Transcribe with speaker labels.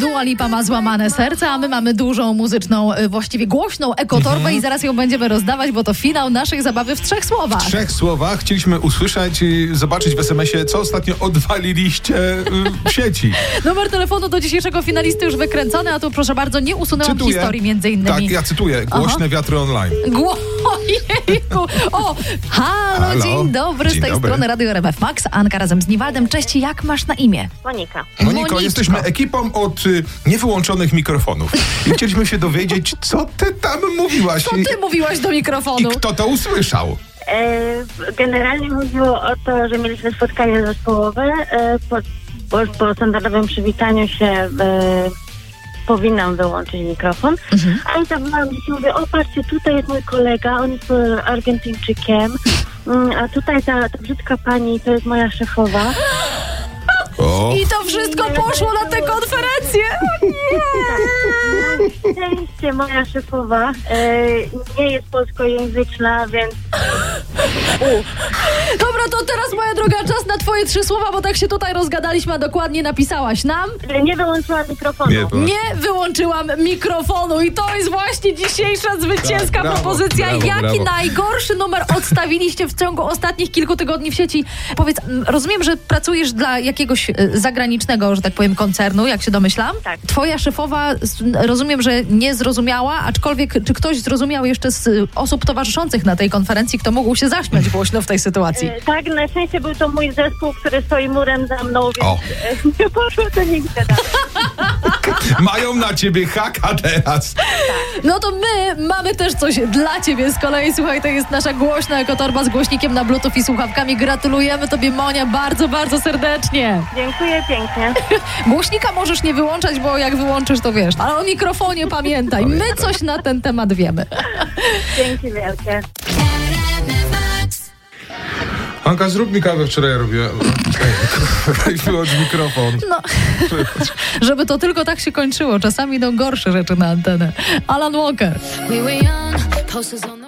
Speaker 1: Dua Lipa ma złamane serce, a my mamy dużą muzyczną, y, właściwie głośną
Speaker 2: Mhm.
Speaker 1: ekotorbę i zaraz ją będziemy rozdawać, bo to finał naszej zabawy w trzech słowach.
Speaker 2: W trzech słowach chcieliśmy usłyszeć i zobaczyć w SMS-ie, co ostatnio odwaliliście y, w sieci.
Speaker 1: Numer telefonu do dzisiejszego finalisty już wykręcony, a tu proszę bardzo, nie usunęłam historii między
Speaker 2: Tak,
Speaker 1: innymi.
Speaker 2: ja cytuję. Głośne wiatry online.
Speaker 1: Gło- Ojejku. O, halo,
Speaker 2: Halo.
Speaker 1: dzień dobry, z
Speaker 2: Dzień
Speaker 1: tej
Speaker 2: dobry.
Speaker 1: strony Radio RMF Max, Anka razem z Niewaldem. Cześć, jak masz na imię?
Speaker 3: Monika.
Speaker 2: Moniko,
Speaker 1: Moniczko.
Speaker 2: jesteśmy ekipą od y, niewyłączonych mikrofonów. I chcieliśmy się dowiedzieć, co ty tam mówiłaś
Speaker 1: Co
Speaker 2: i,
Speaker 1: ty mówiłaś do
Speaker 2: i
Speaker 1: mikrofonu?
Speaker 2: kto to usłyszał.
Speaker 3: E, generalnie chodziło o to, że mieliśmy spotkanie zespołowe. E, po, po, po standardowym przywitaniu się e, powinnam wyłączyć mikrofon. A i zawołałam dzieci, mówię, o patrzcie, tutaj jest mój kolega, on jest e, Argentyńczykiem. Mm, A tutaj ta, ta brzydka pani, to jest moja szefowa.
Speaker 2: O,
Speaker 1: I to wszystko poszło na tę konferencję.
Speaker 3: Na szczęście moja szefowa e, nie jest polskojęzyczna, więc
Speaker 1: Dobra, to teraz moja droga, czas na twoje trzy słowa, bo tak się tutaj rozgadaliśmy, a dokładnie napisałaś nam.
Speaker 3: nie wyłączyła mikrofonu.
Speaker 2: Nie, bo-
Speaker 1: Nie wyłączyłam mikrofonu i to jest właśnie dzisiejsza zwycięska
Speaker 2: Tak, brawo,
Speaker 1: propozycja.
Speaker 2: brawo,
Speaker 1: Jaki
Speaker 2: brawo.
Speaker 1: najgorszy numer odstawiliście w ciągu ostatnich kilku tygodni w sieci? Powiedz, m, rozumiem, że pracujesz dla jakiegoś e, zagranicznego, że tak powiem, koncernu, jak się domyślam.
Speaker 3: Tak.
Speaker 1: Twoja szefowa, s- rozumiem, że nie zrozumiała, aczkolwiek czy ktoś zrozumiał jeszcze z e, osób towarzyszących na tej konferencji, kto mógł się zaśmiać głośno w tej sytuacji?
Speaker 3: E, Tak, na szczęście był to mój zespół, który stoi murem za mną,
Speaker 2: O.
Speaker 3: więc e, nie poszło to nigdy dalej.
Speaker 2: Mają na ciebie haka teraz.
Speaker 1: No to my mamy też coś dla ciebie z kolei. Słuchaj, to jest nasza głośna ekotorba z głośnikiem na bluetooth i słuchawkami. Gratulujemy tobie, Monia, bardzo, bardzo serdecznie.
Speaker 3: Dziękuję pięknie.
Speaker 1: Głośnika możesz nie wyłączać, bo jak wyłączysz, to wiesz. Ale o mikrofonie pamiętaj. My coś na ten temat wiemy.
Speaker 3: Dzięki wielkie.
Speaker 2: Anka, zrób mi kawę, wczoraj robię. Czekaj, wyłącz mikrofon.
Speaker 1: No, żeby to tylko tak się kończyło. Czasami idą gorsze rzeczy na antenę. Alan Walker.
Speaker 4: We were young, posters on the